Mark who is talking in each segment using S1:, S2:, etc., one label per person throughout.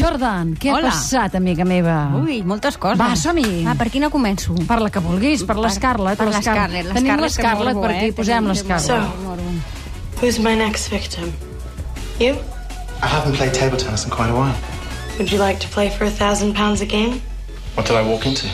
S1: Jordan, què
S2: Hola.
S1: ha passat, amiga meva?
S2: Ui, moltes coses.
S1: Va, som-hi.
S2: Ah, per quina començo?
S1: Per la que vulguis, per l'Scarlett.
S2: per
S1: o l'Scar-
S2: l'Scarlett, l'Scarlett
S1: Tenim
S2: té
S1: l'Scarlett
S2: morbo,
S1: per
S2: eh?
S1: aquí,
S2: Tenim-
S1: posem
S2: té
S1: l'Scarlett.
S3: So- Who's my next victim? You?
S4: I haven't played table tennis in quite a while.
S3: Would you like to play for a thousand pounds a game?
S4: What did I walk into?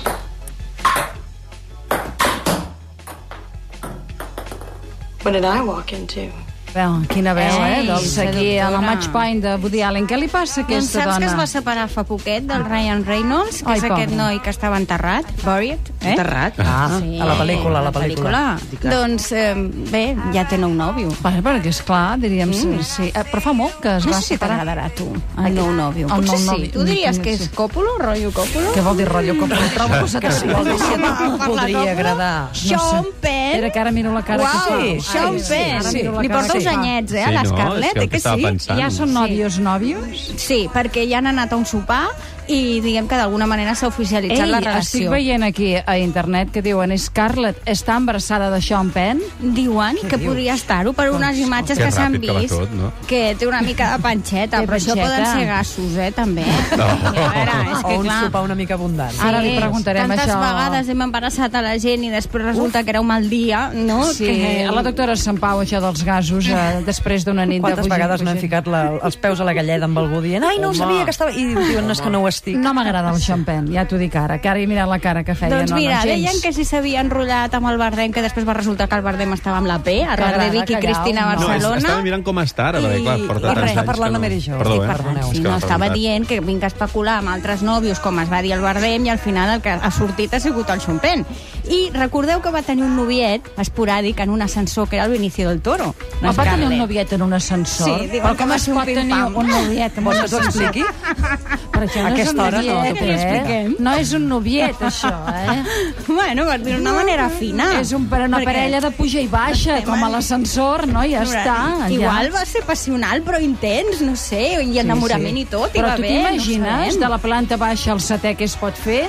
S3: What did I walk into?
S1: Veu, quina veu, eh?
S2: Ei,
S1: Doncs aquí, a la
S2: seductora.
S1: Match Point de Woody Allen. Què li passa a aquesta
S2: Doncs saps que es
S1: dona? Ah.
S2: va separar fa poquet del Ryan Reynolds, que
S1: Ai,
S2: és aquest
S1: pobre.
S2: noi que estava enterrat, buried, eh?
S5: Terrat. Ah,
S2: Sí,
S5: a la pel·lícula, a la pel·lícula.
S2: Doncs, eh, bé, ja té nou nòvio.
S1: Bueno, perquè és clar, diríem, mm. sí, sí. Eh, Però fa molt que es
S2: No
S1: va
S2: sé si
S1: separar.
S2: t'agradarà a tu, el nou nòvio.
S1: El
S2: Potser
S1: nou
S2: sí.
S1: nòvio.
S2: Tu diries que és
S1: Sí.
S2: còpulo, rotllo còpulo?
S1: Què vol dir rotllo? Com que trobo que se t'agrada.
S5: Em podria agradar.
S2: Sean Penn.
S1: Era que ara miro la cara
S2: eh? Uau,
S1: que fa.
S2: Sean
S1: Ai, sí,
S2: Penn.
S1: ara miro la
S2: Li
S1: cara
S2: porta
S1: que
S2: uns
S1: fa.
S2: anyets, eh, a
S6: Sí, no, és
S2: l'Scarlett,
S6: que
S2: eh,
S6: el
S2: que
S6: que estava
S2: sí?
S6: pensant.
S1: Ja són nòvios, nòvios?
S2: Sí, perquè ja han anat a un sopar i diguem que d'alguna manera s'ha oficialitzat la
S1: estic
S2: relació.
S1: veient aquí a internet que diuen Scarlett està embarassada de Sean Penn.
S2: Diuen que podria estar-ho per unes
S1: Doncs,
S2: imatges
S6: que
S2: que s'han
S6: ràpid que va
S2: vist,
S6: tot, no?
S2: que té una mica de panxeta,
S1: Té
S2: però això
S1: panxeta.
S2: poden ser gassos, eh, també. No. A veure, Ah, és
S5: O
S2: que
S5: un
S2: clar...
S5: sopar una mica abundant.
S1: Ah, Ara li preguntarem
S2: tantes
S1: això.
S2: vegades hem embarassat a la gent i després resulta que era un mal dia, no?
S1: Sí,
S2: que...
S1: a la doctora Sant Pau, això dels gasos, eh, després d'una nit de
S5: Quantes
S1: fugir,
S5: vegades no hem
S1: fugir.
S5: ficat la, els peus a la galleda amb algú dient ai, no ho sabia que estava... I diuen, no, és que no ho estic.
S1: No m'agrada el Sean Penn, ja t'ho dic ara, que ara he mirat la cara que feia.
S2: Doncs
S1: no,
S2: mira,
S1: no, gens.
S2: deien que si s'havia enrotllat amb el Bardem, que després va resultar que el Bardem estava amb la P, a
S1: Cagarà,
S2: de Vic i
S1: cagarà,
S2: Cristina a
S1: no.
S6: No,
S2: Barcelona.
S6: és, estava mirant com està ara, perquè
S5: I-
S6: clar, porta
S5: i
S6: tants
S5: res,
S6: anys
S5: està parlant
S6: que
S5: la Mary Jo.
S6: Perdó, eh?
S5: parlant,
S6: És
S2: Sí,
S6: que
S2: no,
S6: m'ha
S2: estava
S6: preguntat.
S2: dient que vinc a especular amb altres nòvios, com es va dir el Bardem, i al final el que ha sortit ha sigut el Xompen. I recordeu que va tenir un noviet esporàdic en un ascensor, que era el Vinicio del Toro.
S1: No, va tenir un
S2: Scarlett.
S1: noviet en un ascensor.
S2: Sí, diuen
S1: però
S2: que
S1: com
S2: va
S1: es
S2: ser un
S1: pot tenir
S2: pim-pam.
S1: un noviet en un
S5: Vols que t'ho
S1: ascensor?
S5: expliqui?
S1: Per això no és un
S5: Aquesta hora no,
S1: noviet,
S2: que li
S1: eh?
S2: expliquem.
S1: No és un noviet, això, eh?
S2: Bueno, per dir d'una manera fina.
S1: És un, per una
S2: Perquè
S1: parella de puja i baixa, com a l'ascensor, no? Ja està.
S2: Igual
S1: ja.
S2: va ser passional, però intens, no sé, i enamorament i tot, i
S1: Però
S2: va
S1: tu
S2: bé, no
S1: t'imagines
S2: sabem.
S1: de la planta baixa al setè què es pot fer?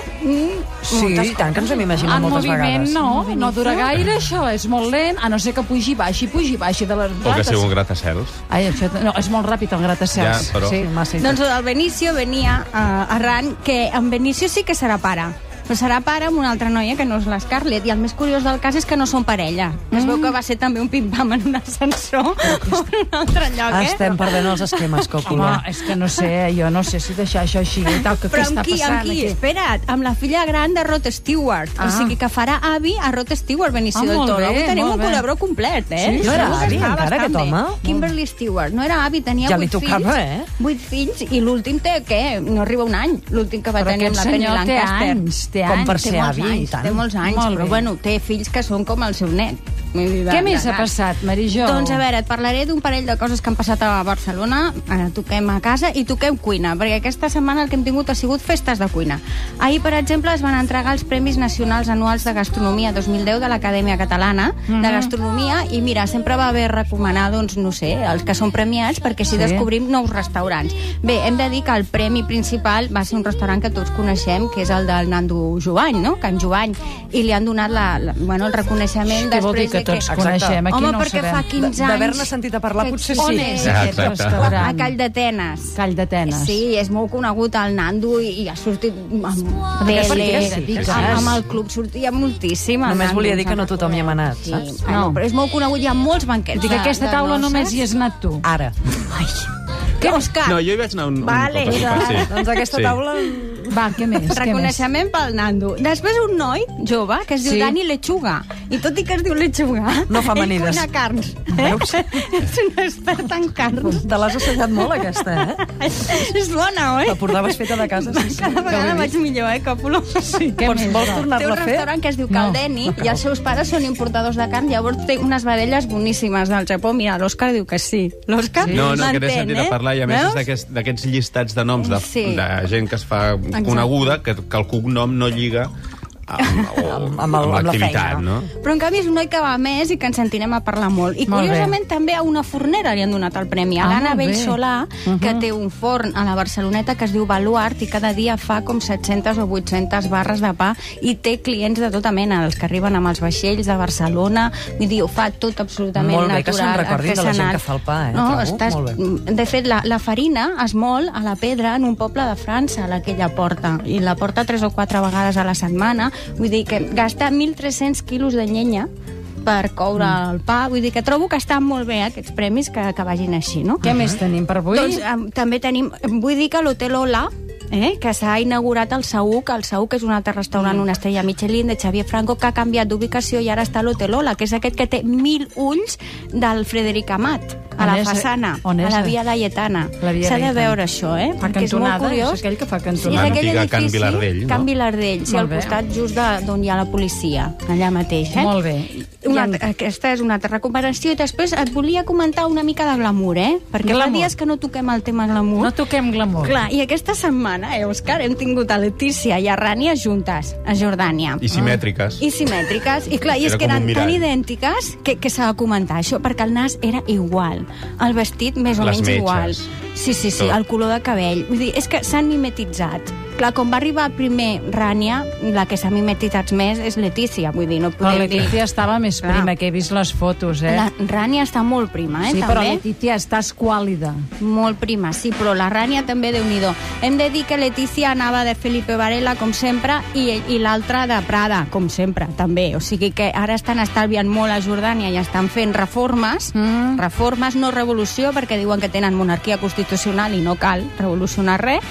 S5: Sí, i tant, que ens hem imaginat
S1: en
S5: moltes
S1: moviment
S5: vegades.
S1: no, no dura gaire això, és molt lent, a no ser que pugi i baixi, pugi i baixi de les
S6: O que
S1: plantes.
S6: sigui un gratacels.
S1: Ai, això, no, és molt ràpid el gratacels.
S6: Ja, però-
S1: Sí,
S5: Massa
S2: Doncs el Benicio venia uh, arran que en Benicio sí que serà pare però serà pare amb una altra noia que no és l'Scarlett i el més curiós del cas és que no són parella es veu que va ser també un pim-pam en un ascensor o en un altre lloc eh?
S5: Estem perdent els esquemes,
S1: Home, eh.
S5: Còpula.
S1: és que no sé, jo no sé si deixar això així i tal, que
S2: però
S1: què
S2: amb
S1: està
S2: qui,
S1: passant
S2: amb qui?
S1: aquí?
S2: Espera't, amb la filla gran de Rod Stewart.
S1: Ah.
S2: O sigui que farà avi a Rod Stewart, Benicio
S1: Ah,
S2: del
S1: molt
S2: Toro.
S1: bé,
S2: Avui tenim
S1: molt
S2: un
S1: bé.
S2: col·labró complet, eh?
S5: Sí, no era
S2: Segur que
S5: avi
S2: està
S5: encara,
S2: bastant
S5: aquest
S2: bé.
S5: home?
S2: Kimberly Stewart. No era avi, tenia
S5: Ja li
S2: vuit fills.
S5: tocava, eh?
S2: Vuit fills, i l'últim té, què? No arriba un any, l'últim que va
S1: Però
S2: tenir amb
S1: aquest
S2: la Penny
S1: senyor té
S2: Lancaster.
S1: anys, té
S5: Com
S1: anys.
S5: per
S2: Té
S5: ser
S2: molts
S5: avi, i
S2: anys,
S5: tant.
S2: té molts anys,
S1: Molt
S2: però
S1: bé.
S2: bueno, té fills que són com el seu net. Vull dir,
S1: Què
S2: de-
S1: més ha
S2: d'edat.
S1: passat, Marijó?
S2: Doncs a veure, et parlaré d'un parell de coses que han passat a Barcelona. Ara toquem a casa i toquem cuina, perquè aquesta setmana el que hem tingut ha sigut festes de cuina. Ahir, per exemple, es van entregar els Premis Nacionals Anuals de Gastronomia 2010 de l'Acadèmia Catalana de Gastronomia i mira, sempre va bé recomanar, doncs, no sé, els que són premiats perquè així
S1: Sí.
S2: sí. descobrim nous restaurants. Bé, hem de dir que el premi principal va ser un restaurant que tots coneixem, que és el del Nando Jovany, no? Can Jovany, i li han donat la, la, bueno, el reconeixement
S1: Què vol dir
S2: després
S1: que
S2: de
S1: tots
S5: Exacte.
S1: coneixem? Aquí
S2: Home,
S1: no ho
S2: perquè
S1: sabem.
S2: fa 15 anys...
S5: D'haver-ne sentit a parlar,
S2: que
S5: potser
S2: existeix.
S1: On
S5: sí.
S1: és
S6: Exacte.
S1: aquest restaurant?
S2: A Call d'Atenes.
S1: Call d'Atenes.
S2: Sí, és molt conegut el Nando i, i ha sortit amb tele,
S5: perquè sí,
S2: amb,
S6: sí, sí.
S2: amb el club sortia moltíssim. el
S5: Només
S2: Nando,
S5: volia dir
S2: ens
S5: que no
S2: en
S5: tothom hi ha
S2: recordem.
S5: anat,
S2: Sí.
S5: saps?
S2: Ah,
S1: No.
S2: no. Però és molt conegut, hi ha molts banquets.
S1: Dic,
S2: de-
S1: a aquesta
S2: de
S1: taula
S2: noces.
S1: només hi has anat tu.
S5: Ara.
S2: Què, Òscar?
S6: No, jo hi vaig anar un, un
S2: Ah. Vale,
S6: cop. a sopar, sí.
S5: Doncs aquesta
S6: Sí.
S5: taula...
S1: Va, què més? Què més?
S2: Reconeixement pel Nando. Després un noi jove que es diu
S1: Sí.
S2: sí. Dani Lechuga. I tot i que es diu Lechuga...
S5: No fa amanides.
S2: Ell cuina carns.
S5: Veus?
S2: Eh? És un expert en carns.
S5: Te l'has assentat molt, aquesta, eh?
S2: És bona, oi?
S5: La portaves feta de casa, sí, sí.
S2: Cada vegada
S5: Ja ho he
S2: vaig
S5: dit.
S2: millor, eh, Còpolo? Sí.
S1: Què
S5: Vols,
S1: més,
S5: vols
S1: va?
S2: Té un
S5: tornar-la a fer?
S2: restaurant que es diu Caldeni i els seus pares són importadors de carn, llavors té unes vedelles boníssimes del Japó. Mira, l'Òscar diu que sí. L'Òscar
S6: No, no, que n'he
S2: l'entén,
S6: sentit a
S2: eh?
S6: parlar, i a més
S2: Veus?
S6: és d'aquest- d'aquests llistats de noms de,
S2: Sí.
S6: de gent que es fa coneguda, que, que el cognom no lliga amb, o,
S5: Amb- amb el- amb la
S6: l'activitat,
S5: feina.
S6: no?
S2: Però, en canvi, és un noi que va més i que ens sentirem a parlar molt. I,
S1: Molt bé.
S2: curiosament, també a una fornera li han donat el premi.
S1: Ah,
S2: A l'Anna
S1: molt bé.
S2: Bellsolà, que té un forn a la Barceloneta que es diu Baluart i cada dia fa com 700 o 800 barres de pa i té clients de tota mena, els que arriben amb els vaixells de Barcelona. Vull dir, ho fa tot absolutament
S5: Molt bé, que
S2: natural,
S5: se'n recordi de la gent
S2: artesanal.
S5: que fa el pa, eh,
S2: No,
S5: trobo,
S2: estàs...
S5: molt
S2: De fet, la, la farina es mol a la pedra en un poble de França, la que ella porta, i la porta tres o quatre vegades a la setmana. Vull dir que gasta 1.300 quilos de llenya per coure mm. el pa. Vull dir que trobo que estan molt bé eh, aquests premis que, que vagin així, no?
S1: Què més tenim per avui?
S2: Doncs um, també tenim... Vull dir que l'Hotel Ola, eh, que s'ha inaugurat el Saúc, el Saúc és un altre restaurant, una estrella Michelin de Xavier Franco, que ha canviat d'ubicació i ara està a l'Hotel Ola, que és aquest que té mil ulls del Frederic Amat, a
S1: On
S2: la
S1: és?
S2: façana, a
S1: On és?
S2: la Via Laietana.
S1: La Via
S2: S'ha de
S1: Laietana.
S2: veure això, eh?
S1: La
S2: Perquè és molt
S1: cantonada,
S2: curiós.
S1: és aquell que fa
S2: Sí, és
S1: cantonada.
S2: aquell
S6: L'antiga
S2: edifici,
S6: Can Vilardell, no?
S2: Can Vilardell, sí,
S1: Molt
S2: al
S1: bé.
S2: costat just de- d'on hi ha la policia, allà mateix. Eh?
S1: Molt bé. I
S2: Una,
S1: en-
S2: Aquesta és una altra recuperació. I després et volia comentar una mica de glamour, eh? Perquè
S1: Glamour.
S2: fa dies que no toquem el tema glamour.
S1: No toquem glamour.
S2: Clar, i aquesta setmana, eh, Òscar, hem tingut a Letícia i a Rània juntes, a Jordània.
S6: I simètriques.
S2: I simètriques. I clar, i és
S6: Era
S2: que
S6: com un
S2: eren tan
S6: mirall.
S2: idèntiques que, que s'ha de comentar això, perquè el nas era igual, el vestit més o
S6: Les
S2: menys
S6: metges.
S2: igual. Sí, sí, sí,
S6: Tot.
S2: el color de cabell. Vull dir, és que s'han mimetitzat. Clar, quan va arribar primer Rània, la que s'ha mimetitzat més és Letícia, vull dir, no
S1: Però
S2: podem dir...
S1: Letícia estava més
S2: Clar.
S1: prima, que he vist les fotos, eh?
S2: La Rània està molt prima, eh,
S1: sí,
S2: també.
S1: però Letícia estàs quàlida.
S2: Molt prima, sí, però la Rània també, déu nhi Hem de dir que Letícia anava de Felipe Varela, com sempre, i, i l'altra de Prada, com sempre, també. O sigui que ara estan estalviant molt a Jordània i estan fent reformes, mm. reformes, no revolució, perquè diuen que tenen monarquia constitucional i no cal revolucionar res,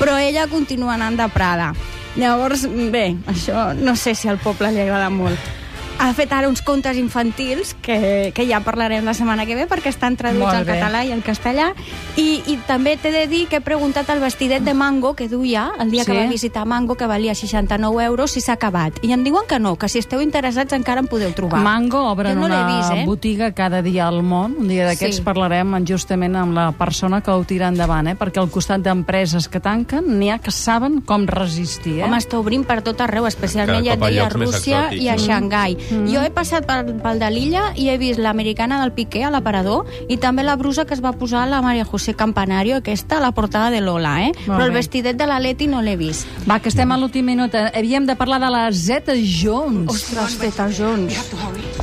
S2: però ella continua anant de Prada. Llavors, bé, això no sé si al poble li agrada molt ha fet ara uns contes infantils que, que ja parlarem la setmana que ve perquè estan traduïts
S1: Molt
S2: al
S1: bé.
S2: català i al castellà i, i també t'he de dir que he preguntat al vestidet de Mango que duia el dia
S1: Sí?
S2: que va visitar Mango que valia 69 euros si s'ha acabat i em diuen que no, que si esteu interessats encara en podeu trobar
S1: Mango obren
S2: Jo no l'he
S1: una
S2: vist, eh?
S1: botiga cada dia al món. Un dia d'aquests
S2: Sí.
S1: parlarem en- justament amb la persona que ho tira endavant, eh? perquè al costat d'empreses que tanquen n'hi ha que saben com resistir. Eh?
S2: Home, està obrint per tot arreu, especialment
S6: Cada
S2: ja et
S6: cop a
S2: deia a
S6: llocs més
S2: Rússia
S6: exòtics,
S2: i a
S6: no?
S2: Xangai. Mm. Jo he passat pel, pel de l'illa i he vist l'americana del Piqué a l'aparador i també la brusa que es va posar la Maria José Campanario, aquesta, a la portada de Lola, eh? Però el
S1: bé.
S2: vestidet de la Leti no l'he vist.
S1: Va, que estem a l'últim minut. Eh, Havíem de parlar de la Zeta Jones.
S2: Ostres, Feta Jones.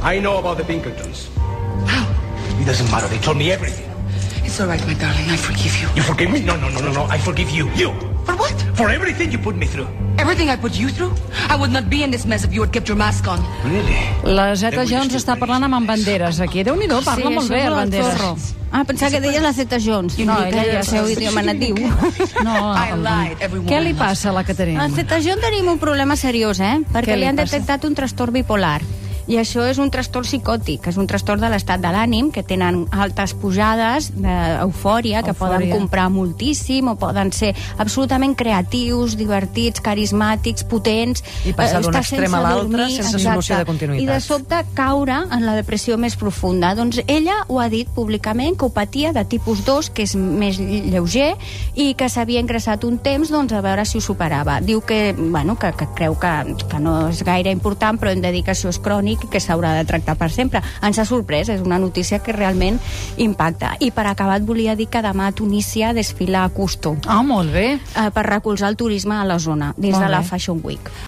S7: I know about the Pinkertons.
S4: It doesn't matter. They
S7: Told me everything.
S8: It's all right, my darling. I forgive you.
S7: You forgive me? No, no, no, no, no. I forgive you. You.
S8: For what?
S7: For everything you put me through.
S8: Everything I put you through? I would not be in this mess if you had kept your mask on.
S7: Really?
S1: La Zeta Jones està parlant amb en Banderas aquí. Déu-n'hi-do, parla molt bé, el Banderas.
S2: Ah, pensava que deies la Zeta Jones. No, ella ja el seu idioma natiu.
S1: No,
S8: I
S1: el-
S8: lied, everyone.
S1: què li passa a la Caterina?
S2: A Cetajon tenim un problema seriós, eh?
S1: Què
S2: Perquè
S1: li
S2: li han
S1: passa?
S2: detectat un trastorn bipolar. I això és un trastorn psicòtic, és un trastorn de l'estat de l'ànim, que tenen altes pujades d'eufòria, que
S1: Eufòria.
S2: poden comprar moltíssim, o poden ser absolutament creatius, divertits, carismàtics, potents...
S5: I passar
S2: eh,
S5: d'un
S2: estar
S5: extrem
S2: sense
S5: a l'altre
S2: dormir,
S5: sense
S2: exacte.
S5: solució de continuïtat.
S2: I de sobte caure en la depressió més profunda. Doncs ella ho ha dit públicament, que ho patia de tipus 2, que és més lleuger, i que s'havia ingressat un temps doncs, a veure si ho superava. Diu que, bueno, que, que creu que, que no és gaire important, però hem de dir que això és crònic i que s'haurà de tractar per sempre. Ens ha sorprès, és una notícia que realment impacta. I per acabar et volia dir que demà a Tunísia desfila a Custo
S1: Ah, molt bé.
S2: eh, per recolzar el turisme a la zona, dins
S1: Molt
S2: de la
S1: bé.
S2: Fashion Week.